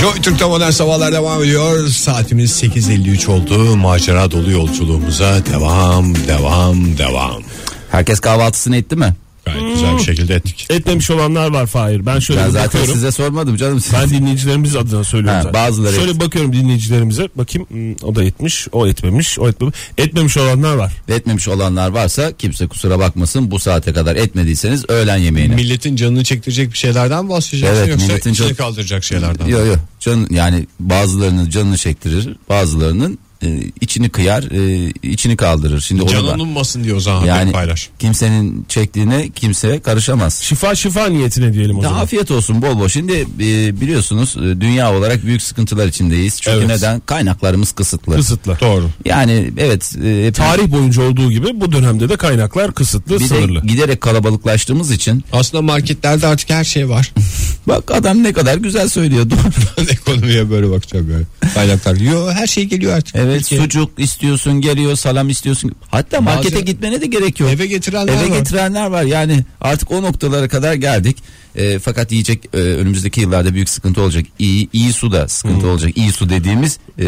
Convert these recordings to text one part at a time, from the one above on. Joy Türk'te modern sabahlar devam ediyor. Saatimiz 8.53 oldu. Macera dolu yolculuğumuza devam, devam, devam. Herkes kahvaltısını etti mi? Gayet güzel bir şekilde ettik. Etmemiş olanlar var Fahir. Ben şöyle Ben bir zaten bakıyorum. size sormadım canım. Siz... Ben dinleyicilerimiz adına söylüyorum Ha, zaten. bazıları Şöyle bakıyorum dinleyicilerimize. Bakayım hmm, o da etmiş, o etmemiş, o etmemiş. Etmemiş olanlar var. Etmemiş olanlar varsa kimse kusura bakmasın bu saate kadar etmediyseniz öğlen yemeğini. Milletin canını çektirecek bir şeylerden bahsedeceksin Evet, yoksa milletin içini can- kaldıracak şeylerden. Yo yo Can, yani bazılarının canını çektirir bazılarının e, içini kıyar e, içini kaldırır. Şimdi onu da- Canın ummasın diyor o zaman yani haberi paylaş. kimsenin çektiğine kimse karışamaz. Şifa şifa niyetine diyelim o Daha zaman. afiyet olsun bol bol. Şimdi e, biliyorsunuz e, dünya olarak büyük sıkıntılar içindeyiz. Çünkü Evet. neden? Kaynaklarımız kısıtlı. Kısıtlı. Doğru. Yani evet e, hep- Tarih boyunca olduğu gibi bu dönemde de kaynaklar kısıtlı, bir de sınırlı. giderek kalabalıklaştığımız için Aslında marketlerde artık her şey var. bak adam ne kadar güzel söylüyor. Doğru. Ben ekonomiye böyle bakacağım yani. Kaynaklar. Yo her şey geliyor artık. Evet Türkiye. sucuk istiyorsun geliyor salam istiyorsun. Hatta markete Malzeme- gitmene de gerek yok. Eve getirenler Eve var. getirenler var. Yani artık o noktalara kadar geldik. E, fakat yiyecek e, önümüzdeki yıllarda büyük sıkıntı olacak. İyi, iyi su da sıkıntı olacak. İyi su dediğimiz e,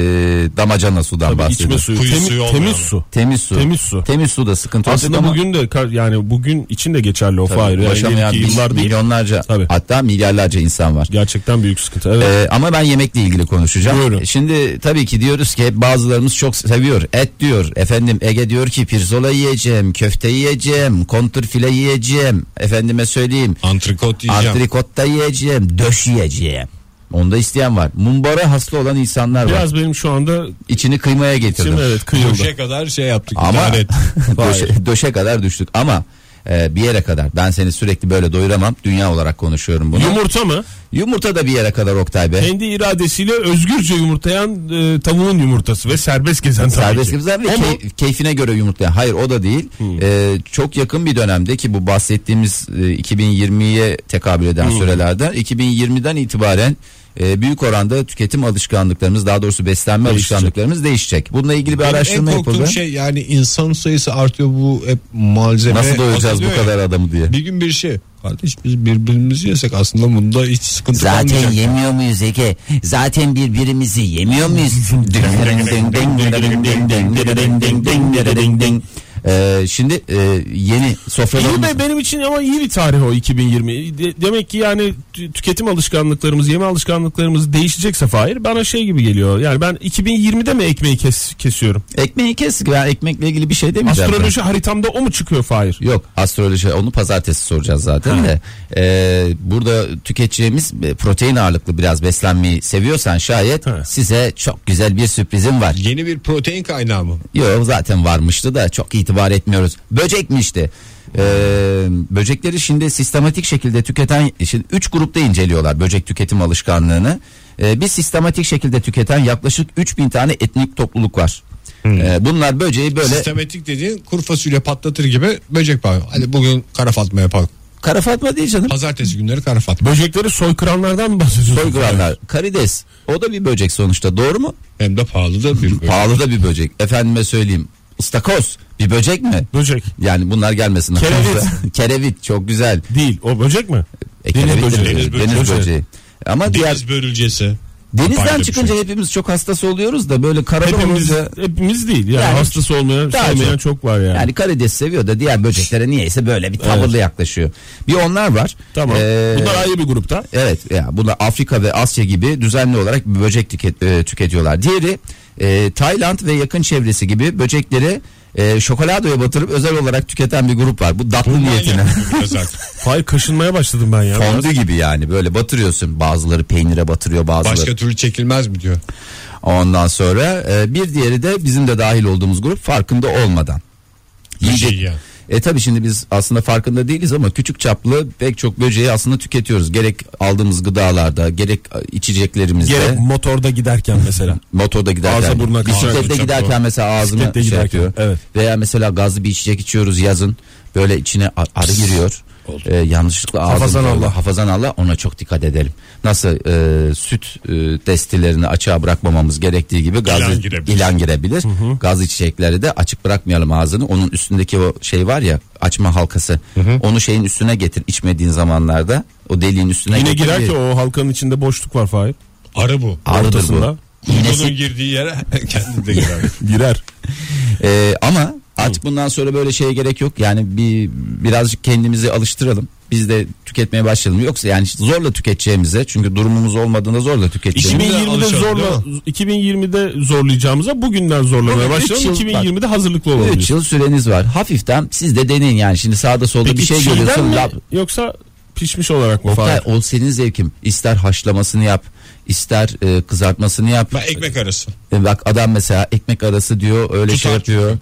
damacana sudan Tabii bahsediyoruz. içme suyu, Kuyu temi- suyu olmayan. temiz su. Temiz su. Temiz su. Temiz su da sıkıntı Aslında olacak ama bugün de kar- yani bugün için de geçerli o tabii Fahir. Yani ulaşamayan ileriki mil- yıllar değil. milyonlarca Tabii. hatta milyarlarca insan var. Gerçekten büyük sıkıntı. Evet. Ee, ama ben yemekle ilgili konuşacağım. E, Buyurun. Şimdi tabii ki diyoruz ki hep bazılarımız çok seviyor. Et diyor. Efendim Ege diyor ki pirzola yiyeceğim, köfte yiyeceğim, kontrfile yiyeceğim. Efendime söyleyeyim. Antrikot yiyeceğim. Antrikotta yiyeceğim, döş yiyeceğim. Onda isteyen var. Mumbara hasta olan insanlar var. Biraz benim şu anda İçini kıymaya getirdim. şimdi evet kıyıldı. Köşe kadar şey yaptık. Ama idare ettik. döşe, döşe kadar düştük ama e, bir yere kadar. Ben seni sürekli böyle doyuramam. Dünya olarak konuşuyorum bunu. Yumurta mı? Yumurta da bir yere kadar Oktay Bey. Kendi iradesiyle özgürce yumurtlayan e, tavuğun yumurtası ve serbest gezen tabii Serbest ki. gibi zaten ve O mu? key- keyfine göre yumurtlayan. Hayır o da değil. Ee, çok yakın bir dönemde ki bu bahsettiğimiz e, 2020'ye tekabül eden sürelerde 2020'den itibaren e, büyük oranda tüketim alışkanlıklarımız daha doğrusu beslenme Değişecek. alışkanlıklarımız değişecek. Bununla ilgili bir Benim araştırma en korktuğum yapıldı. şey yani insan sayısı artıyor bu hep malzeme. Nasıl doyuracağız bu azalıyor ya. kadar adamı diye. Bir gün bir şey. Kardeş biz birbirimizi yesek aslında bunda hiç sıkıntı Zaten kalmayacak. yemiyor muyuz Ege? Zaten birbirimizi yemiyor muyuz? Ee, şimdi e, yeni İyi sofralarımız... be benim için ama iyi bir tarih o 2020. De- demek ki yani tü- tüketim alışkanlıklarımız, yeme alışkanlıklarımız değişecekse Fahir bana şey gibi geliyor. Yani ben 2020'de mi ekmeği kes, kesiyorum? Ekmeği kestik. Ben ekmekle ilgili bir şey demeyeceğim. Astroloji haritamda o mu çıkıyor Fahir? ben. Yok astroloji onu pazartesi soracağız zaten de. Ee, burada tüketeceğimiz e, protein ağırlıklı biraz beslenmeyi seviyorsan şayet Ha. size çok güzel bir sürprizim var. Yeni bir protein kaynağı mı? Yok zaten varmıştı da çok itibar etmiyoruz. Böcekmişti. Ee, böcekleri şimdi sistematik şekilde tüketen şimdi üç grupta inceliyorlar böcek tüketim alışkanlığını. Ee, bir sistematik şekilde tüketen yaklaşık 3000 tane etnik topluluk var. Ee, bunlar böceği böyle Sistematik dediğin kuru fasulye patlatır gibi böcek bağı. Hadi bugün kara fatma yapalım. kara fatma değil canım. Pazartesi günleri kara fatma. Böcekleri soykıranlardan mı bahsediyorsun? Soygulanlar. Karides. O da bir böcek sonuçta doğru mu? Hem de pahalı da bir böcek. Pahalı da bir böcek. Efendime söyleyeyim. Istakoz bir böcek mi? Böcek Yani bunlar gelmesin. Kerevit. aklınıza. kerevit çok güzel. değil. O böcek mi? E, Deniz kerevit de böceği. Deniz bir- Deniz, böceği. böceği. Ama diğer Deniz börülcesi. Apayrı denizden bir çıkınca şey. hepimiz çok hastası oluyoruz da böyle karada Hepimiz, olunca hepimiz değil. Yani, Yani- hastası olmayan, Daha sevmeyen çok. çok. var yani. yani karides seviyor da diğer böceklere niyeyse böyle bir tavırlı yaklaşıyor. Bir onlar var. Tamam. Ee, Bunlar ayrı bir grupta. Evet ya bunlar Afrika ve Asya gibi düzenli olarak böcek tüket- e, tüketiyorlar. Diğeri e, Tayland ve yakın çevresi gibi böcekleri e, şokoladoya batırıp özel olarak tüketen bir grup var. Bu datlı niyetine. Manyak bir böcek. Hayır kaşınmaya başladım ben ya. Fondü gibi yani böyle batırıyorsun. Bazıları peynire batırıyor bazıları. Başka türlü çekilmez mi diyor. Ondan sonra e, bir diğeri de bizim de dahil olduğumuz grup farkında olmadan. Böceği Yiyecek- şey ya. E tabi şimdi biz aslında farkında değiliz ama küçük çaplı pek çok böceği aslında tüketiyoruz. Gerek aldığımız gıdalarda gerek e, içeceklerimizde. Gerek motorda giderken mesela. motorda giderken Ağza buruna kaçar. bisiklette Kaçar giderken bu. mesela ağzına Bisiklette şey giderken, yapıyor. evet. Veya mesela gazlı bir içecek içiyoruz yazın. Böyle içine ar- arı giriyor. Ee, yanlışlıkla ağzımıza Hafazan böyle- Allah. Hafazan Allah ona çok dikkat edelim. Nasıl e, süt e, destilerini açığa bırakmamamız gerektiği gibi gazlı İlan girebilir. ilan girebilir. Gazlı içecekleri de açık bırakmayalım ağzını. Onun üstündeki o şey var ya açma halkası. Onu şeyin üstüne getir içmediğin zamanlarda O deliğin üstüne Yine girebilir. girer ki o halkanın içinde boşluk var Fahir. Arı bu. Arıdır bu. Ortasında. Bunun İğnesi- girdiği yere kendi de girer. Girer. Ee, ama artık bundan sonra böyle şeye gerek yok. Yani bir birazcık kendimizi alıştıralım. Biz de tüketmeye başlayalım. Yoksa yani zorla tüketeceğimize çünkü durumumuz olmadığında zorla tüketeceğimiz. İşimi- 2020'de alışalım, zorla 2020'de zorlayacağımıza bugünden zorlamaya Bugün üç başlayalım. yıl- 2020'de hazırlıklı olalım. 3 diyorsun. yıl süreniz var. Hafiften siz de deneyin yani. Şimdi sağda solda Peki bir şey çiğden görüyorsun. mi lap- yoksa pişmiş olarak mı Oktay, Fahir? o senin zevkin. İster haşlamasını yap, ister e, kızartmasını yap. Ben ekmek arası. E, Bak adam mesela ekmek arası diyor, öyle Tutar şey yapıyor.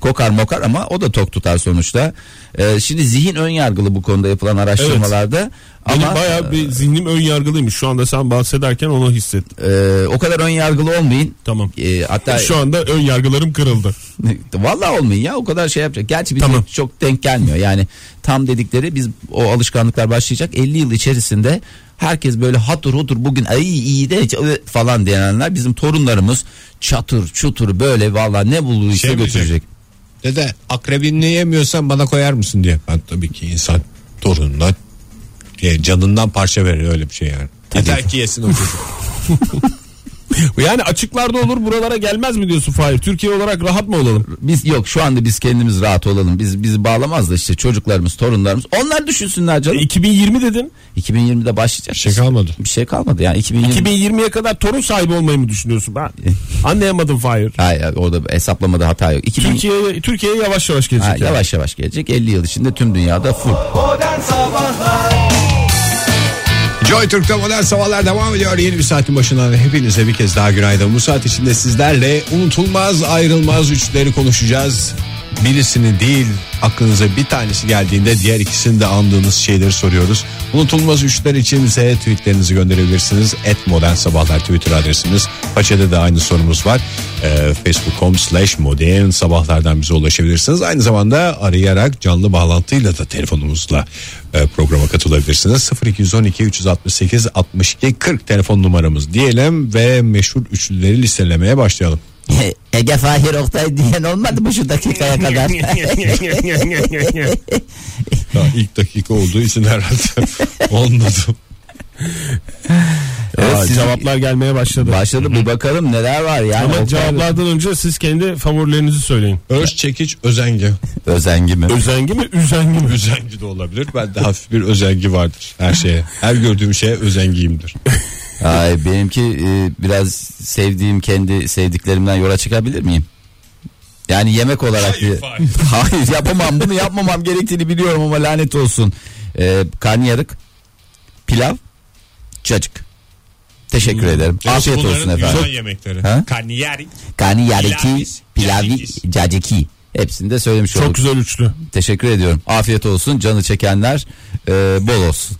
Kokar mokar ama o da tok tutar sonuçta. E, şimdi zihin ön yargılı bu konuda yapılan araştırmalarda. Benim Ama bayağı bir zihnim ön yargılıymış. Şu anda sen bahsederken onu hissettim. e, o kadar ön yargılı olmayın. Tamam. E, hatta Şu anda ön yargılarım kırıldı. Vallahi olmayın ya o kadar şey yapacak. Gerçi bize Tamam. çok denk gelmiyor. Yani tam dedikleri biz o alışkanlıklar başlayacak 50 yıl içerisinde herkes böyle hatır hutur bugün ay iyi de ç- falan diyenler bizim torunlarımız çatır çutur böyle vallahi ne bulduysa Şey mi götürecek. Dede akrebinini yemiyorsan bana koyar mısın diye. Ben tabii ki insan torununa e, canından parça verir öyle bir şey yani. Yeter ki yesin o çocuk. Yani açıklarda olur buralara gelmez mi diyorsun Fahir? Türkiye olarak rahat mı olalım? Biz yok şu anda biz kendimiz rahat olalım. Biz bizi bağlamaz da işte çocuklarımız, torunlarımız onlar düşünsünler E, canım. 2020 dedin. 2020'de başlayacak. Bir şey kalmadı. Bir şey kalmadı yani 2020. 2020'ye kadar torun sahibi olmayı mı düşünüyorsun? Ben E. anlayamadım Fahir. Hayır orada hesaplamada hata yok. 2000... Türkiye'ye Türkiye'ye yavaş yavaş Ha, gelecek. yani. yavaş yavaş gelecek. 50 yıl içinde tüm dünyada full. Joy Türk'te modern sabahlar devam ediyor. Yeni bir saatin başından hepinize bir kez daha günaydın. Bu saat içinde sizlerle unutulmaz ayrılmaz üçleri konuşacağız. Birisini değil aklınıza bir tanesi geldiğinde diğer ikisini de andığınız şeyleri soruyoruz. Unutulmaz üçler için bize tweetlerinizi gönderebilirsiniz. Et modern sabahlar Twitter adresimiz. Paçede de aynı sorumuz var. Ee, Facebook.com slash modern sabahlardan bize ulaşabilirsiniz. Aynı zamanda arayarak canlı bağlantıyla da telefonumuzla e, programa katılabilirsiniz. 0212 368 62 40 telefon numaramız diyelim ve meşhur üçlüleri listelemeye başlayalım. Ege Fahir Oktay diyen olmadı mı şu dakikaya kadar? Daha ilk dakika olduğu için herhalde olmadı. Evet, Aa, sizin- Cevaplar gelmeye başladı. Başladı bir bakalım neler var yani. Ama Oktay- cevaplardan önce siz kendi favorilerinizi söyleyin. Öz çekiç özengi. Özengi mi? Özengi mi üzengi mi? Özengi de olabilir. Ben de hafif bir özengi vardır her şeye. Her gördüğüm şeye özengiyimdir. Ay benimki e, biraz sevdiğim kendi sevdiklerimden yola çıkabilir miyim? Yani yemek olarak Hayır, bir- Hayır, yapamam bunu yapmamam gerektiğini biliyorum ama lanet olsun. Ee, karnıyarık, pilav, cacık. Teşekkür Hmm. ederim. Afiyet olsun efendim. yemekleri. Ha? Karnıyarık. Karnıyarık, pilavi, pilavis. caciki. Hepsini de söylemiş olduk. Çok güzel üçlü. Teşekkür ediyorum. Afiyet olsun. Canı çekenler e, bol olsun.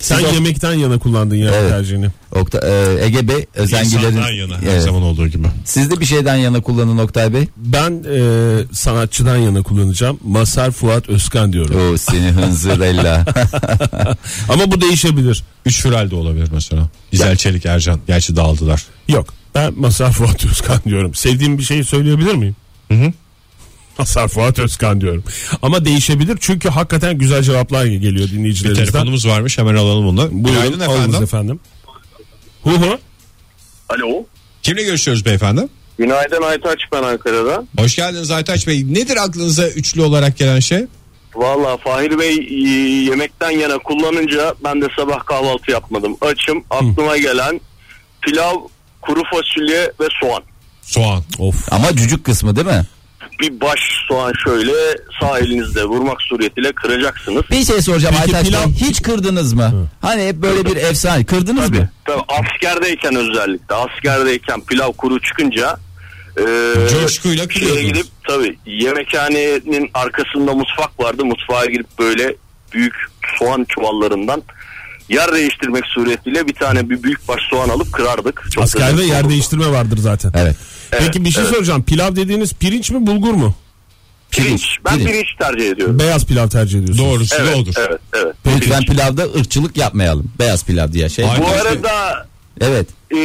Sen Siz o- yemekten yana kullandın yani Evet. tercihini. Okta, e, Ege Bey İnsandan özengilerin. yana her Evet. zaman olduğu gibi. Siz de bir şeyden yana kullanın Oktay Bey. Ben e, sanatçıdan yana kullanacağım. Masar Fuat Özkan diyorum. O seni hınzırella. Ama bu değişebilir. Üç Hürel de olabilir mesela. İzel Çelik Ercan. Gerçi dağıldılar. Yok. Ben Masar Fuat Özkan diyorum. Sevdiğim bir şeyi söyleyebilir miyim? Masar Fuat Özkan diyorum. Ama değişebilir çünkü hakikaten güzel cevaplar geliyor Bir dinleyicilerimizden. telefonumuz varmış hemen alalım onu. Buyurun, Günaydın alınız efendim. efendim. Hu hu. Alo. Kimle görüşüyoruz beyefendi? Günaydın Aytaç ben Ankara'dan. Hoş geldiniz Aytaç Bey. Nedir aklınıza üçlü olarak gelen şey? Valla Fahir Bey e, yemekten yana kullanınca ben de sabah kahvaltı yapmadım. Açım aklıma gelen pilav, kuru fasulye ve soğan. Soğan. Of. Ama cücük kısmı değil mi? Bir baş soğan şöyle sağ elinizle vurmak suretiyle kıracaksınız. Bir şey soracağım Peki Aytaç Bey. pilav- Hiç kırdınız mı? Hani hep böyle bir efsane. Kırdınız mı? Tabii askerdeyken özellikle askerdeyken pilav kuru çıkınca e, Coşkuyla şeye kırıyordunuz. gidip tabii yemekhanenin arkasında mutfak vardı. Mutfağa girip böyle büyük soğan çuvallarından yer değiştirmek suretiyle bir tane bir büyük baş soğan alıp kırardık. Çok Askerde lezzetli yer olurdu. değiştirme vardır zaten. Evet. Peki bir şey soracağım. Pilav dediğiniz pirinç mi bulgur mu? Pirinç. Ben pirinç. pirinç, tercih ediyorum. Beyaz pilav tercih ediyorsunuz. Doğrusu da olur. Evet, evet. Lütfen pilavda ırkçılık yapmayalım. Beyaz pilav diye şey. Ay- Bu Aynen. arada Evet. e,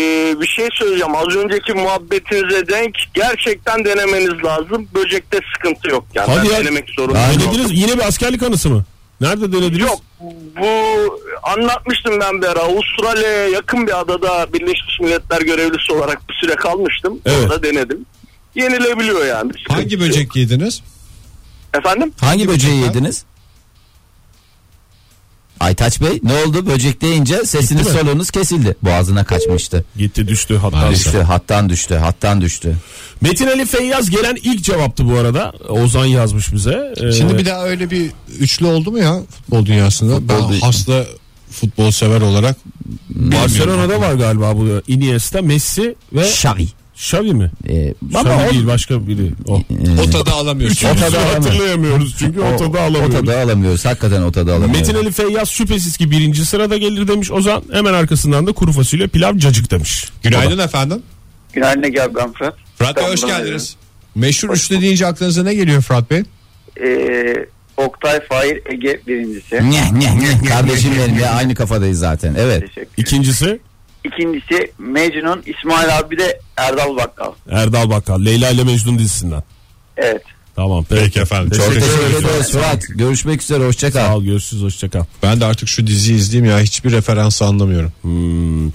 bir şey söyleyeceğim. Az önceki muhabbetinize denk gerçekten denemeniz lazım. Böcekte sıkıntı yok. Yani Hadi ben ya. denemek zorunda Aynen. oldum. Denediniz mi? Yine bir askerlik anısı mı? Nerede denediniz? Yok bu anlatmıştım ben bir ara Avustralya'ya yakın bir adada Birleşmiş Milletler görevlisi olarak bir süre kalmıştım. Evet. Orada denedim. Yenilebiliyor yani. Bir sıkıntı Hangi yok. böcek yediniz? Efendim? Hangi böceği böcek lan? yediniz? Aytaç Bey ne oldu? Böcek deyince sesiniz Gitti mi? soluğunuz kesildi. Boğazına kaçmıştı. Gitti düştü hatta. Düştü hattan düştü hattan düştü. Metin Ali Feyyaz gelen ilk cevaptı bu arada. Ozan yazmış bize. Ee, Şimdi bir daha öyle bir üçlü oldu mu ya futbol dünyasında? ben değil. hasta futbol sever olarak Barcelona'da var galiba bu. Iniesta, Messi ve Şari. Xavi mi? Ee, Xavi baba o- değil başka biri. O. Hmm. o tadı alamıyorsun. O tadı alamıyor. hatırlayamıyoruz çünkü o tadı alamıyoruz. O tadı alamıyoruz. Hakikaten o tadı alamıyoruz. Metin Ali Feyyaz şüphesiz ki birinci sırada gelir demiş Ozan. Hemen arkasından da kuru fasulye pilav cacık demiş. Günaydın efendim. Günaydın Ege abi ben Fırat. Fırat Bey hoş İstanbul'dan geldiniz. Meşhur üçlü deyince aklınıza ne geliyor Fırat Bey? arıyorum. Ee, Oktay Fahir Ege birincisi. Nyeh, nyeh, nyeh. Kardeşim benim ya aynı kafadayız zaten. Evet. Teşekkür. İkincisi İkincisi Mecnun İsmail abi de Erdal Bakkal. Erdal Bakkal. Leyla ile Mecnun dizisinden. Evet. Tamam. Peki efendim. Çok Teşekkür teşekkür ederim. ederiz Fırat. Görüşmek üzere. hoşça Sağ kal. ol görüşürüz hoşçakal. Ben de artık şu diziyi izleyeyim ya hiçbir referans anlamıyorum.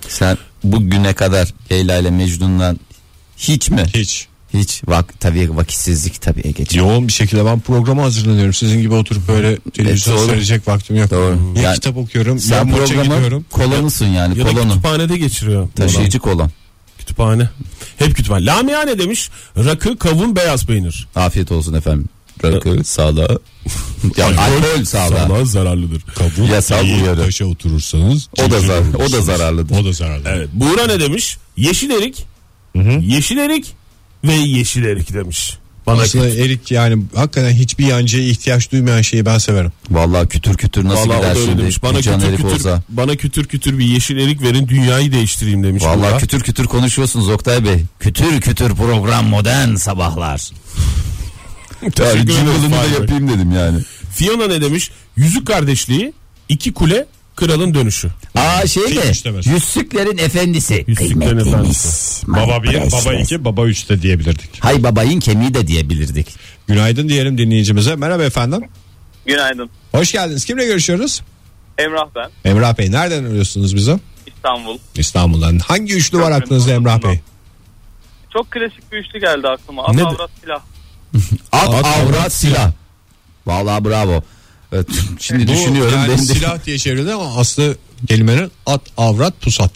Sen bugüne kadar Leyla ile Mecnun'dan hiç mi? Hiç. Hiç. Vak, tabii vakitsizlik tabii e, geçiyor. Yoğun bir şekilde ben programa hazırlanıyorum. Sizin gibi oturup böyle televizyon doğru. seyredecek vaktim yok. Doğru. Ya Yani kitap okuyorum ya Sen maça gidiyorum. programın kolonusun yani Ya da kolonu. kütüphanede geçiriyor. Taşıyıcı kolon. Kütüphane. Hep kütüphane. Lamihane demiş. Rakı, kavun, beyaz peynir. Afiyet olsun efendim. Rakı sağlığa. ya alkol sağlığa. Sağlığa zararlıdır. Kabul. Ya sağ ol, İyi uyarı. taşa oturursanız. O da çirkin zar- o da olursunuz. zararlıdır. O da zararlı. Evet. Buğra ne demiş? Yeşil erik. Yeşil erik ve yeşil erik demiş. Bana Aslında erik yani hakikaten hiçbir yancıya ihtiyaç duymayan şeyi ben severim. Vallahi kütür kütür nasıl Vallahi o da gider öyle şimdi? demiş. Bana Bir can kütür herif kütür, olsa. bana kütür kütür bir yeşil erik verin dünyayı değiştireyim demiş. Buğra. Vallahi kütür kütür konuşuyorsunuz Oktay Bey. Kütür kütür program modern sabahlar. Teşekkür ederim Fahri Bey. dedim yani. Fiona ne demiş? Yüzük kardeşliği, iki kule, kralın dönüşü. Aa şey mi? Kimmiş demesi. Yüzsüklerin efendisi. Yüzsüklerin Kıymetlimiz. efendisi. My Baba bir, baba precious. iki, baba üç de diyebilirdik. Hay babayın kemiği de diyebilirdik. Günaydın diyelim dinleyicimize. Merhaba efendim. Günaydın. Hoş geldiniz. Kimle görüşüyoruz? Emrah ben. Emrah Bey nereden arıyorsunuz bizi? İstanbul. İstanbul'dan. Hangi üçlü var aklınızda Emrah Bey? Çok klasik bir üçlü geldi aklıma. At, Ne- avrat, silah. At, avrat silah. Vallahi bravo. Evet, Şimdi düşünüyorum. yani benim de- silah diye çevrildi ama aslı kelimenin at, avrat, pusat.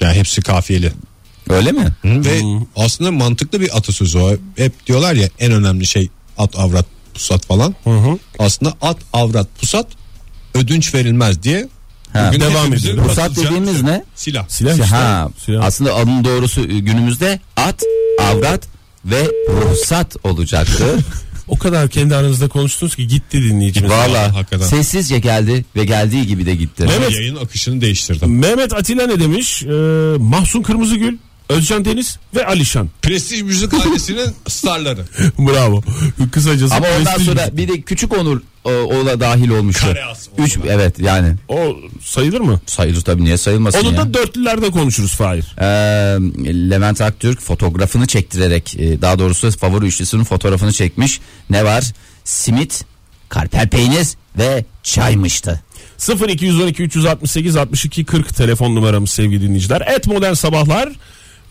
Yani hepsi kafiyeli. Öyle mi? Ve aslında mantıklı bir atasözü o. Hep diyorlar ya en önemli şey at, avrat, pusat falan. Aslında at, avrat, pusat ödünç verilmez diye. Ha. bugün Devam hepimizin ediyor. Pusat katılacak dediğimiz şey. ne? Silah. Silah işte. Ha, Silah. aslında onun doğrusu e, günümüzde at, avrat ve ruhsat olacaktı. O kadar kendi aranızda konuştunuz ki gitti dinleyicimiz. Vallahi Valla hakikaten. sessizce geldi ve geldiği gibi de gitti. Evet. Yayın akışını değiştirdim. Mehmet Atilla ne demiş? Ee, Mahsun Kırmızıgül, Özcan Deniz ve Alişan. Prestij müzik ailesinin starları. Bravo. Kısacası Ama ondan prestij- sonra bir de küçük Onur e, ola dahil olmuştu. Kare as, Üç, evet yani O sayılır mı? sayılır tabii niye sayılmasın Onu ya. da dörtlülerde konuşuruz Fahir. Ee, Levent Aktürk fotoğrafını çektirerek e, daha doğrusu favori üçlüsünün fotoğrafını çekmiş. Ne var? Simit, karper peynir ve çaymıştı. 0212 368 62 40 telefon numaramız sevgili dinleyiciler. Et Modern Sabahlar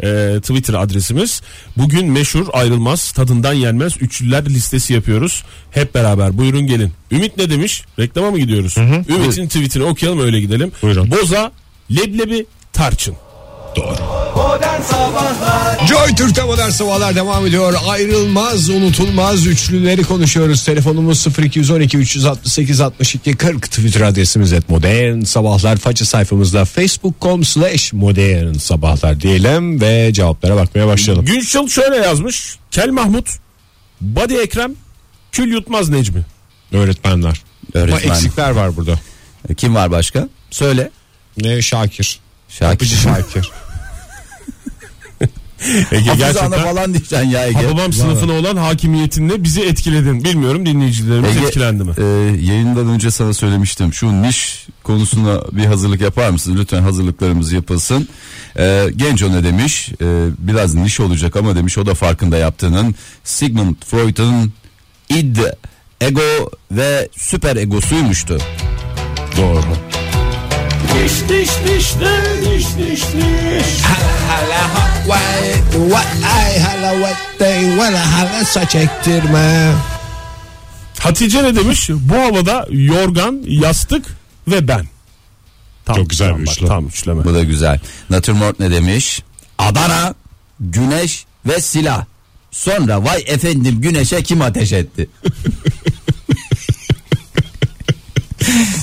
e, Twitter adresimiz. Bugün meşhur ayrılmaz tadından yenmez üçlüler listesi yapıyoruz. Hep beraber buyurun gelin. Ümit ne demiş? Reklama mı gidiyoruz? Ümit'in tweetini okuyalım öyle gidelim. Buyurun. Boza, leblebi, tarçın. Joy Türk'te modern sabahlar devam ediyor. Ayrılmaz, unutulmaz üçlüleri konuşuyoruz. Telefonumuz 0212 368 62 40 Twitter adresimiz et modern sabahlar. Faça sayfamızda facebook.com slash modern sabahlar diyelim ve cevaplara bakmaya başlayalım. Günçıl şöyle yazmış. Kel Mahmut, Badi Ekrem, Kül Yutmaz Necmi. Öğretmenler. Öğretmen. Ama eksikler var burada. E, Kim var başka? Söyle. Ne Şakir. Kapıcı Şakir. Şakir. Ege Hafize ana falan diyeceksin ya Ege. Ha, babam sınıfına olan hakimiyetinle bizi etkiledin. Bilmiyorum dinleyicilerimiz Ege, etkilendi mi? e, yayından önce sana söylemiştim. Şu niş konusuna bir hazırlık yapar mısın? Lütfen hazırlıklarımız yapılsın. E, genç o ne demiş? E, biraz niş olacak ama demiş o da farkında yaptığının. Sigmund Freud'un id ego ve süper egosuymuştu. Doğru. saç ektirme. Hatice ne demiş? Bu havada yorgan, yastık ve ben. Tam, Çok güzel tam bir bak, üçlü. Tam üçleme. Bu da güzel. Natürmort ne demiş? Adana, güneş ve silah. Sonra vay efendim güneşe kim ateş etti?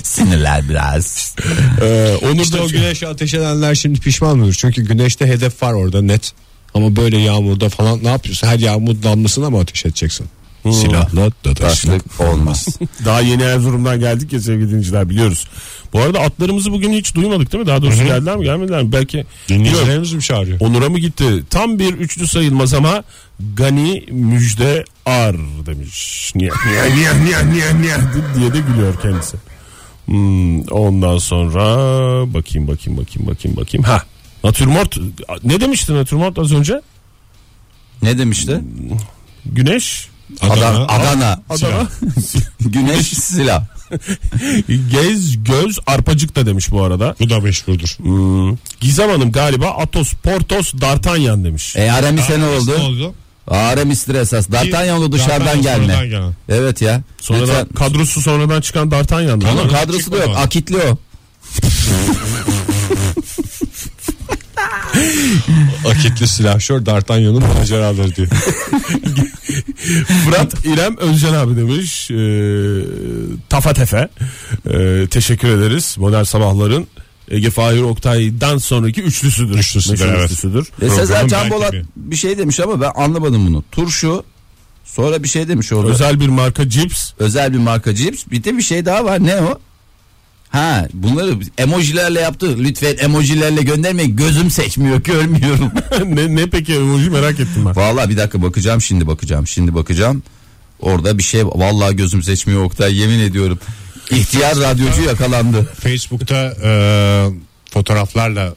Sinirler biraz. Ee, Onur İşte da o güneşe ateş edenler şimdi pişman olur. Çünkü güneşte hedef var orada net. Ama böyle yağmurda falan ne yapıyorsun? Her yağmur damlasına mı ateş edeceksin? Silahla da taşla. Taşlık olmaz. Daha yeni Erzurum'dan geldik ya sevgili dinleyiciler biliyoruz. Bu arada atlarımızı bugün hiç duymadık değil mi? Daha doğrusu geldiler mi gelmediler mi? Belki Bilmiyorum. Dinleyicilerimiz mi çağırıyor? Onur'a mı gitti? Tam bir üçlü sayılmaz ama Gani Müjde Ar demiş. Niye niye niye niye niye niye diye de gülüyor kendisi. Hmm, ondan sonra bakayım bakayım bakayım bakayım bakayım. Ha. Natürmort ne demişti Natürmort az önce? ne demişti? Güneş, Adana, Adana, Adana, güneş, silah. gez, göz, arpacık da demiş bu arada. Bu da meşhurdur. Hmm. Gizem Hanım galiba Atos, Portos, D'Artagnan demiş. E Aramis ne oldu? Aramis esas. D'Artagnanlı dışarıdan D'Artagnan sonradan gelme. gelen. Evet ya. Sonradan Lütfen. kadrosu sonradan çıkan D'Artagnan. Onun Ama- kadrosu da yok. Çıkmadı. Akitli o. Akitli silahşör D'Artagnan'ın maceraları diyor. Fırat İrem Özcan abi demiş. Ee, tafa tefe. Ee, teşekkür ederiz. Modern Sabahların Ege Fahir Oktay'dan sonraki üçlüsüdür. Üçlüsüdür, Meşhur evet. üçlüsüdür. E Sezer Programın Can belki Bolat bir- bir şey demiş ama ben anlamadım bunu. Turşu sonra bir şey demiş orada. Özel, Özel bir marka cips. bir marka cips. Bir de bir şey daha var. Ne o? Ha bunları emojilerle yaptı. Lütfen emojilerle göndermeyin. Gözüm seçmiyor görmüyorum. ne, ne peki emoji merak ettim ben. Vallahi bir dakika bakacağım şimdi bakacağım. Şimdi bakacağım. Orada bir şey vallahi gözüm seçmiyor Oktay yemin ediyorum. İhtiyar radyocu yakalandı. Facebook'ta e, fotoğraflarla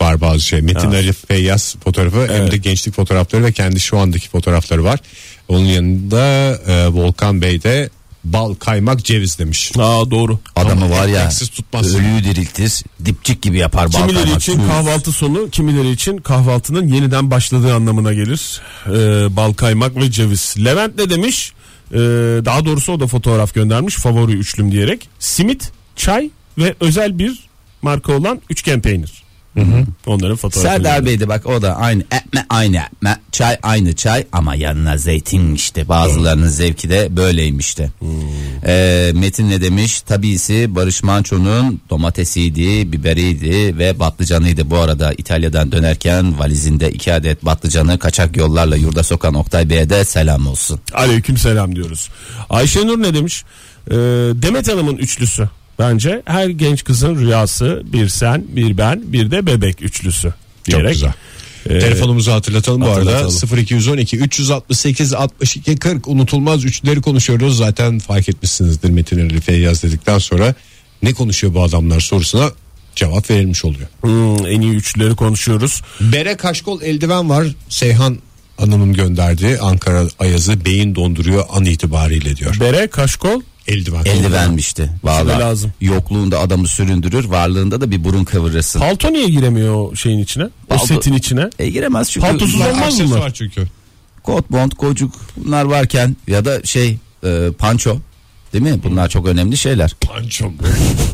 var bazı şey. Metin Ali Feyyaz fotoğrafı hem de gençlik fotoğrafları ve kendi şu andaki fotoğrafları var. Onun yanında e, Volkan Bey de bal kaymak ceviz demiş. Aa doğru. Adamı var ya. ekmeksiz tutmaz. Ölüyü diriltir. Dipçik gibi yapar. Kimileri balparmak. için kahvaltı sonu, kimileri için kahvaltının yeniden başladığı anlamına gelir. Ee, bal kaymak ve ceviz. Levent ne demiş? Ee, daha doğrusu o da fotoğraf göndermiş favori üçlüm diyerek. Simit, çay ve özel bir marka olan üçgen peynir. Onların fotoğrafı. Serdar Bey de bak o da aynı etme aynı etme çay aynı çay ama yanına zeytin işte bazılarının zevki de böyleymiş de. Ee, Metin ne demiş? Tabisi Barış Manço'nun domatesiydi, biberiydi ve patlıcanıydı. Bu arada İtalya'dan dönerken valizinde iki adet patlıcanı kaçak yollarla yurda sokan Oktay Bey'e de selam olsun. Aleyküm selam diyoruz. Ayşenur ne demiş? Ee, Demet Hanım'ın üçlüsü. Bence her genç kızın rüyası bir sen, bir ben, bir de bebek üçlüsü. Diyerek. Çok güzel. Telefonumuzu hatırlatalım bu hatırlatalım. arada 0212 368 62 40 unutulmaz üçleri konuşuyoruz zaten fark etmişsinizdir Metin Ali Feyyaz dedikten sonra ne konuşuyor bu adamlar sorusuna cevap verilmiş oluyor. Hmm, en iyi üçlüleri konuşuyoruz. Bere kaşkol eldiven var. Seyhan Hanım'ın gönderdiği Ankara Ayazı beyin donduruyor an itibariyle diyor. Bere, kaşkol. Eldiven. Eldivenmişti. Valla lazım. yokluğunda adamı süründürür, varlığında da bir burun kıvırırsın. Palto niye giremiyor o şeyin içine? O Palto- setin içine. E giremez çünkü Paltosuz Bunlar olmaz mı? aksesuar çünkü. kot bond kocuk bunlar varken ya da şey e, panço değil mi bunlar çok önemli şeyler Pançom.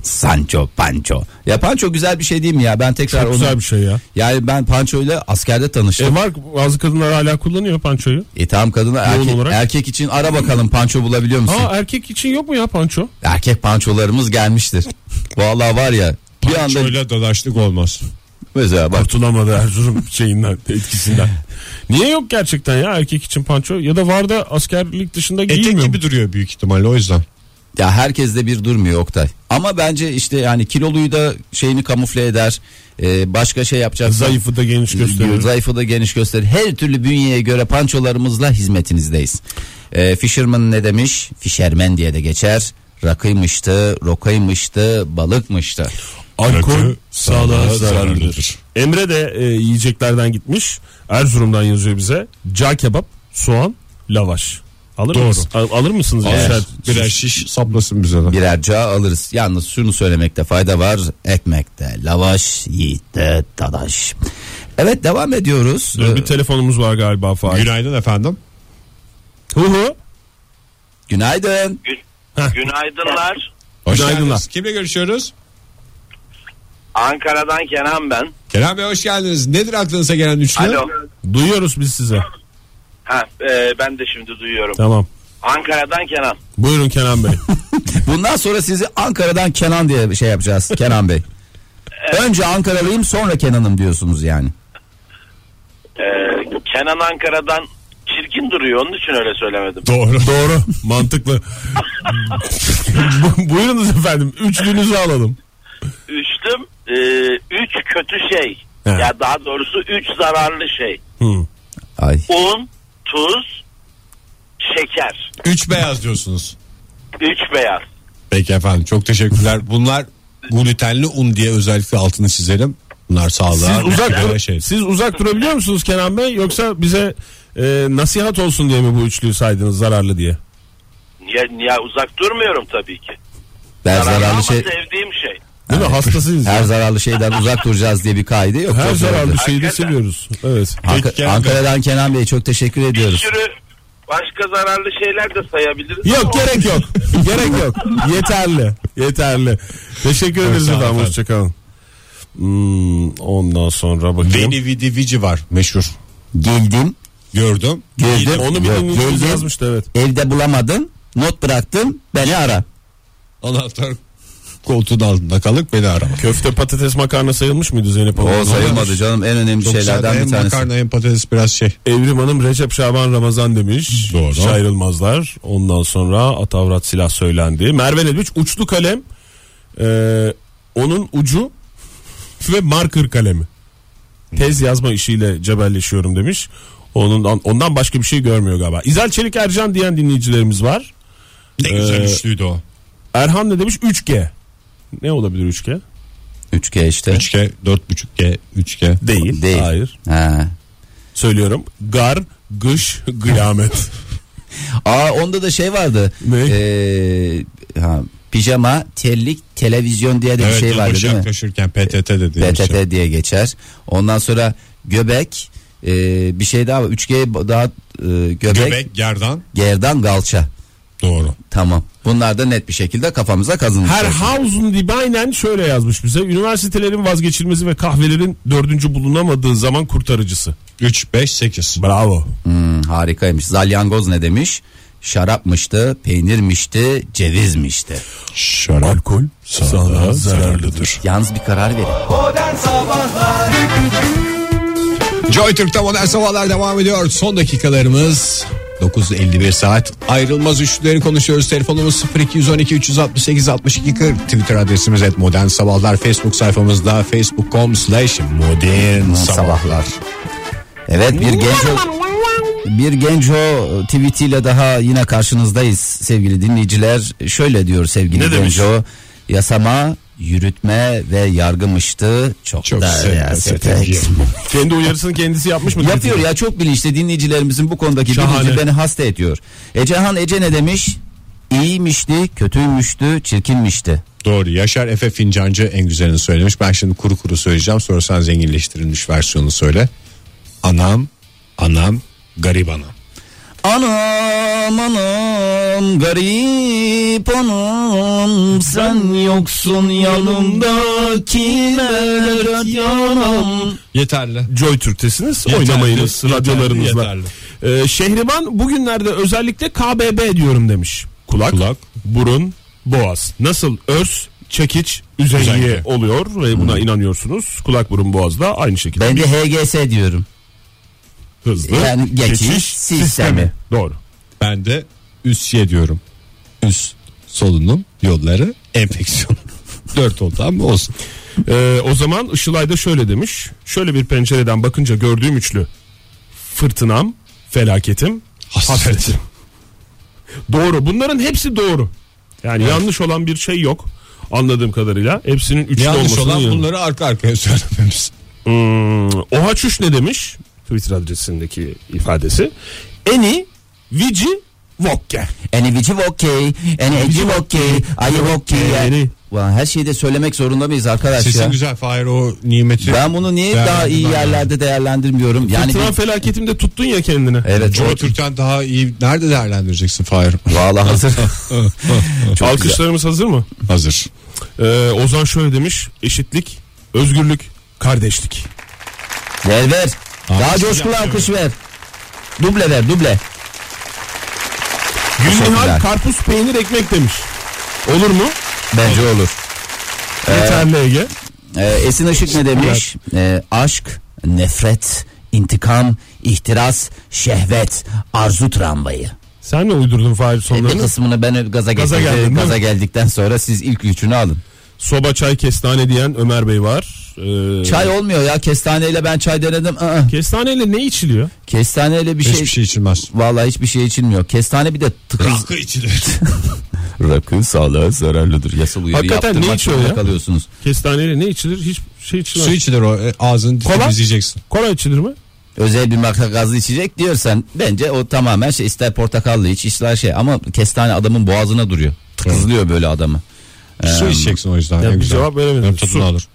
sancho panço ya panço güzel bir şey değil mi ya ben tekrar Çok onu güzel bir şey ya. yani ben panço ile askerde E tanıştım var bazı kadınlar hala kullanıyor pançoyu. e, tamam kadına erkek, olarak. erkek için ara bakalım panço bulabiliyor musun Aa erkek için yok mu ya panço? erkek pançolarımız gelmiştir vallahi var ya bir anda Şöyle dolaştık olmaz. mesela bak Kurtulamadı Erzurum şeyinden etkisinden. Niye yok gerçekten ya erkek için panço? Ya da var da askerlik dışında Etek giyilmiyor. mu? gibi duruyor büyük ihtimalle o yüzden. Ya herkes de bir durmuyor Oktay. Ama bence işte yani kiloluyu da şeyini kamufle eder. Ee, başka şey yapacak. E, Zayıfı da geniş gösterir. Zayıfı da geniş gösterir. Her türlü bünyeye göre pançolarımızla hizmetinizdeyiz. Ee, Fisherman ne demiş? Fisherman diye de geçer. Rakıymıştı, rokaymıştı, balıkmıştı. Alkol Rakı sağlığa sağlığa zararlıdır. zararlıdır. Emre de e, yiyeceklerden gitmiş. Erzurum'dan yazıyor bize. Ca kebap, soğan, lavaş. Alır Doğru. mısınız? Al- alır mısınız? Birer, Yaşar? birer şiş saplasın bize de. Birer cağ alırız. Yalnız şunu söylemekte fayda var. Ekmekte lavaş, yiğitte dadaş. Evet devam ediyoruz. Dur, Ee, bir telefonumuz var galiba Fahir. Günaydın efendim. Hu hu. Günaydın. Günaydınlar. Hoş Günaydınlar. geldiniz. Kimle görüşüyoruz? Ankara'dan Kenan ben. Kenan Bey hoş geldiniz. Nedir aklınıza gelen üçlü? Alo. Duyuyoruz biz size. Ha, e, ben de şimdi duyuyorum. Tamam. Ankara'dan Kenan. Buyurun Kenan Bey. Bundan sonra sizi Ankara'dan Kenan diye bir şey yapacağız Kenan Bey. Önce Ankaralıyım sonra Kenan'ım diyorsunuz yani. E, Kenan Ankara'dan çirkin duruyor. Onun için öyle söylemedim. Doğru. Doğru. Mantıklı. Bu- Buyurunuz efendim. Üçlünüzü alalım. Üçtüm. e, üç kötü şey. He. Ya daha doğrusu üç zararlı şey. Hı. Ay. Un, tuz, şeker. Üç beyaz diyorsunuz. Üç beyaz. Peki efendim çok teşekkürler. Bunlar glutenli un diye özellikle altını çizelim. Bunlar sağlığa. Siz uzak, mutluluğa dur- şey. siz uzak durabiliyor musunuz Kenan Bey? Yoksa bize e, nasihat olsun diye mi bu üçlüyü saydınız zararlı diye? Ya, ya uzak durmuyorum tabii ki. Her Zararlı ama zararlı şey sevdiğim şey. Değil mi? Hastasıyız. ya. her zararlı şeyden uzak duracağız diye bir kaide yok. Her Çok zararlı zorladı. şeyi de Hakikaten. seviyoruz. Evet. Anka- Ankara'dan Kenan Bey çok teşekkür Bir ediyoruz. sürü başka zararlı şeyler de sayabiliriz. Yok ama- gerek yok. gerek yok. Yeterli. Yeterli. Teşekkür ederiz sağ olun efendim. efendim. Hoşçakalın. Hmm, ondan sonra bakayım. Veni Vidi Vici var meşhur. Geldim Gördüm. Gördüm. Onu bir Yok, dinleyicimiz geldim. yazmıştı evet. evde bulamadın not bıraktın beni ara. Anahtar koltuğun altında kalıp beni arama. Köfte patates makarna sayılmış mıydı Zeynep Hanım? O sayılmadı canım en önemli Çok sade, şeylerden hem bir tanesi. makarna hem patates biraz şey. Evrim Hanım Recep Şaban Ramazan demiş. Doğru. Hiç ayrılmazlar. Ondan sonra Atavrat silah söylendi. Merve Nedviç uçlu kalem. Ee, onun ucu ve marker kalemi. Tez yazma işiyle cebelleşiyorum demiş. Ondan, ondan başka bir şey görmüyor galiba. İzel Çelik Ercan diyen dinleyicilerimiz var. Ne güzel Ee, üçlüydü o. Erhan ne demiş? 3G. Ne olabilir 3G? 3G işte. 3G, 4.5G, 3G. Değil. Değil. Hayır. Ha. Söylüyorum. Gar, gış, glamet. Aa onda da şey vardı. Ne? Ee, ha, pijama, terlik, televizyon diye de bir Evet, şey vardı yılbaşı değil mi? yaklaşırken PTT dedi. PTT diye geçer. Ondan sonra göbek e, bir şey daha var. 3G daha e, göbek, Göbek, gerdan. gerdan galça. Doğru. Tamam. Bunlar da net bir şekilde kafamıza kazınmış. Her oldu. Haus'un Dibaynen şöyle yazmış bize. Üniversitelerin vazgeçilmezi ve kahvelerin dördüncü bulunamadığı zaman kurtarıcısı. 3, 5, 8. Bravo. Hmm, harikaymış. Zalyangoz ne demiş? Şarapmıştı, peynirmişti, cevizmişti. Şarap. Alkol sana zararlıdır. Yalnız bir karar verin. Joy Türk'te modern sabahlar devam ediyor. Son dakikalarımız 9.51 saat. Ayrılmaz üçlüleri konuşuyoruz. Telefonumuz 0212 368 62 40. Twitter adresimiz et modern sabahlar. Facebook sayfamızda facebook.com slash modern sabahlar. Evet bir genç bir genç o tweetiyle daha yine karşınızdayız sevgili dinleyiciler. Şöyle diyor sevgili Ne demiş? genç o. Yasama, yürütme ve yargımıştı. Çok, Çok da sevdim, rehaset sevdim. et. Kendi uyarısını kendisi yapmış mı? Yapıyor ya çok bilinçli dinleyicilerimizin bu konudaki Şahane. bilinci beni hasta ediyor. Ecehan Ece ne demiş? İyiymişti, kötüymüştü, çirkinmişti. Doğru. Yaşar Efe Fincancı en güzelini söylemiş. Ben şimdi kuru kuru söyleyeceğim. Sonra sen zenginleştirilmiş versiyonunu söyle. Anam, anam, garip anam. Anam anam garip anam sen yoksun yanımda kimler yanam. Yeterli. Joy Türk'tesiniz. Yeterli, Oynamayınız yeterli, radyolarınızla. yeterli. Ee, Şehriban bugünlerde özellikle KBB diyorum demiş. Kulak, Kulak. burun, boğaz. Nasıl örs, çekiç, üzengi Üzengi. oluyor ve buna inanıyorsunuz. Kulak, burun, boğaz da aynı şekilde. Ben de HGS diyorum. Hızlı Yani geçiş sistemi. Doğru. Ben de üsye diyorum. Üst solunum yolları enfeksiyon. Dört oldu ama olsun. Ee, o zaman Işılay da şöyle demiş. Şöyle bir pencereden bakınca gördüğüm üçlü. Fırtınam, felaketim, Hasret. hasretim. doğru. Bunların hepsi doğru. Yani yanlış olan bir şey yok. Anladığım kadarıyla. Hepsinin üçlü Yanlış olmasının olan yanı- bunları arka arkaya söylememiz. Hmm, Oha Çüş ne demiş? Twitter adresindeki ifadesi. Eni, Vici, Vokke. Any which okay, any which okay, are you okay? Yani. Ulan her şeyi de söylemek zorunda mıyız arkadaş Sesin ya? güzel Fahir o nimeti. Ben bunu niye Değerlendirmem daha iyi lazım. yerlerde değerlendirmiyorum? Yani Fırtına bir- felaketimde tuttun ya kendini. evet. Joy o- Türk'ten daha iyi nerede değerlendireceksin Fahir? Vallahi hazır. Çok güzel. Alkışlarımız hazır mı? Hazır. Ee, Ozan şöyle demiş. Eşitlik, özgürlük, kardeşlik. Ver ver. Daha Alkış coşkulu yapıyorum. alkış ver. Duble ver duble. Gülnihal Teşekkürler. karpuz, peynir, ekmek demiş. Olur mu? Bence olur. Yeterli Ege. Ee, Esin Işık ne demiş? Ee, aşk, nefret, intikam, ihtiras, şehvet, arzu tramvayı. Sen mi uydurdun Fahir E, bir sonlarını? kısmını ben gaza, Gaza gaza, geldin, değil gaza mi? geldikten sonra siz ilk üçünü alın. Soba çay kestane diyen Ömer Bey var. Ee, Çay olmuyor ya kestaneyle ben çay denedim. Aa, Kestaneyle ne içiliyor? kestaneyle bir şey, Hiçbir şey Ah, içilmez. vallahi hiçbir şey içilmiyor. Kestane bir de tıkız. Rakı içilir. Rakı sağlığa zararlıdır. Yasal uyarı Hakikaten ne yaptırmak içiyor zorunda ya? kalıyorsunuz. Kestaneyle ne içilir? Hiç şey içilmez. Su içilir o e, ağzını Kola? temizleyeceksin. Kola içilir mi? Özel bir marka gazlı içecek diyorsan bence o tamamen şey ister portakallı iç ister şey ama kestane adamın boğazına duruyor. Tıkızlıyor böyle adamı. Su içeceksin o yüzden. Ya en bir güzel. cevap veremedim. Hem tadını Su. alır.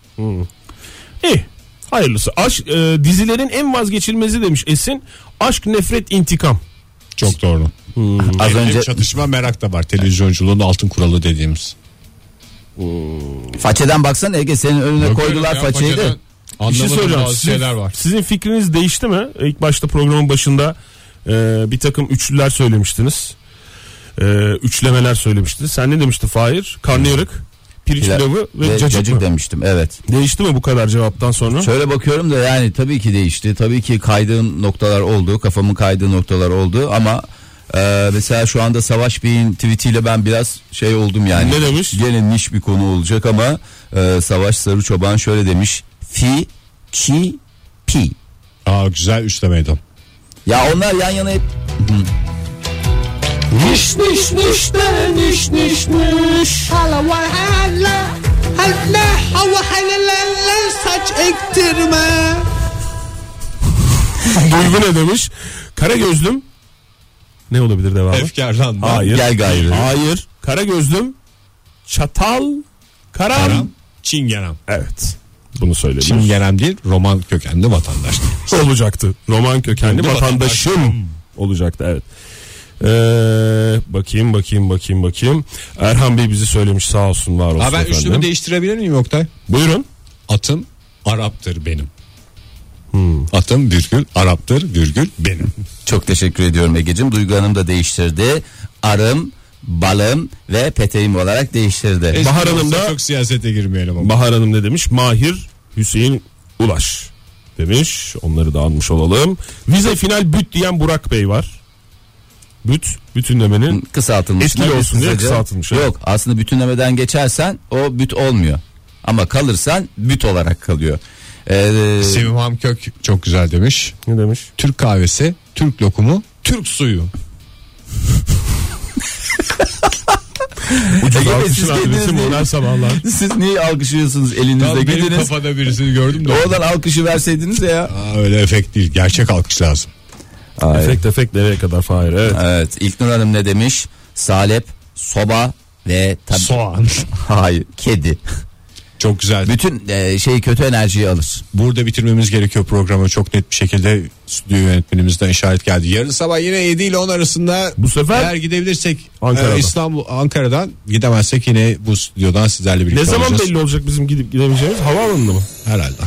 İyi. Hayırlısı. Aşk, e, dizilerin en vazgeçilmezi demiş Esin. Aşk, nefret, intikam. Çok doğru. Az Hem önce çatışma merak da var. Televizyonculuğun altın kuralı dediğimiz. façeden baksan Ege senin önüne koydular façeyi de. Bir şey soracağım. bazı Sizin, şeyler var. sizin fikriniz değişti mi? İlk başta programın başında e, bir takım üçlüler söylemiştiniz. E, üçlemeler söylemiştiniz. Sen ne demiştin Fahir? Karnıyarık, pirinç Pilav pilavı ve, Ve cacık, cacık mı? demiştim evet. Değişti mi bu kadar cevaptan sonra? Şöyle bakıyorum da yani tabii ki değişti. Tabii ki kaydığım noktalar oldu. Kafamın kaydığı noktalar oldu ama e, mesela şu anda Savaş Bey'in tweetiyle ben biraz şey oldum yani. Ne demiş? Gene niş bir konu olacak ama e, Savaş Sarı Çoban şöyle demiş. Fi, çi, pi. Aa, güzel üçle meydan. Ya onlar yan yana hep... Niş niş niş de niş niş niş. Hala ve hala hala hava halalalala saç ektirme. Duygu ne demiş? Kara gözlüm. Ne olabilir devamı? Efkardan. Hayır. Gel gayrı. Hayır. Kara gözlüm. Çatal. Karam. Karam, Çingenem. Evet. Bunu söylemiş. Çingenem değil roman kökenli vatandaş. Şey olacaktı. Roman kökenli Kendi vatandaşım vatandaşım. olacaktı evet. Ee, bakayım bakayım bakayım bakayım. Erhan Bey bizi söylemiş sağ olsun var olsun Aa, ben efendim. üçlümü değiştirebilir miyim Oktay? Buyurun. Atım Arap'tır benim. Hmm. Atım virgül Arap'tır virgül benim. Çok teşekkür ediyorum Ege'cim. Duygu Hanım da değiştirdi. Arım, balım ve peteğim olarak değiştirdi. Bahar Hanım Hanım'da da- çok siyasete girmeyelim ama. Bahar Hanım ne demiş? Mahir Hüseyin Ulaş demiş. Onları da anmış olalım. Vize final büt diyen Burak Bey var. Büt bütünlemenin kısaltılmış. Etkili Tabii olsun diye kısaca- kısaltılmış, evet. Yok aslında bütünlemeden geçersen o büt olmuyor. Ama kalırsan büt olarak kalıyor. Ee, Sevim Hamkök çok güzel demiş. ne demiş? Türk kahvesi, Türk lokumu, Türk suyu. Ege Bey, siz Alkışın adresi kendiniz modern niye- sabahlar. Siz niye alkışlıyorsunuz elinizde Tam benim gidiniz. kafada birisini gördüm de. Oradan alkışı verseydiniz ya. Aa, öyle efekt değil. Gerçek alkış lazım. Efekt efekt nereye kadar Fahir? Evet. Evet İlknur Hanım ne demiş? Salep, soba ve tabii Soğan. hayır kedi. Çok güzel. Bütün e, şey kötü enerjiyi alır. Burada bitirmemiz gerekiyor programı. Çok net bir şekilde stüdyo yönetmenimizden işaret geldi. Yarın sabah yine 7 ile 10 arasında Bu sefer eğer gidebilirsek Ankara'dan. e, İstanbul Ankara'dan gidemezsek yine bu stüdyodan sizlerle birlikte Ne zaman olacağız. belli olacak bizim gidip gidemeyeceğimiz? Havaalanında mı? Herhalde.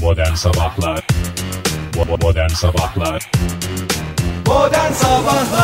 Modern Sabahlar Bo- Modern Sabahlar Modern Sabahlar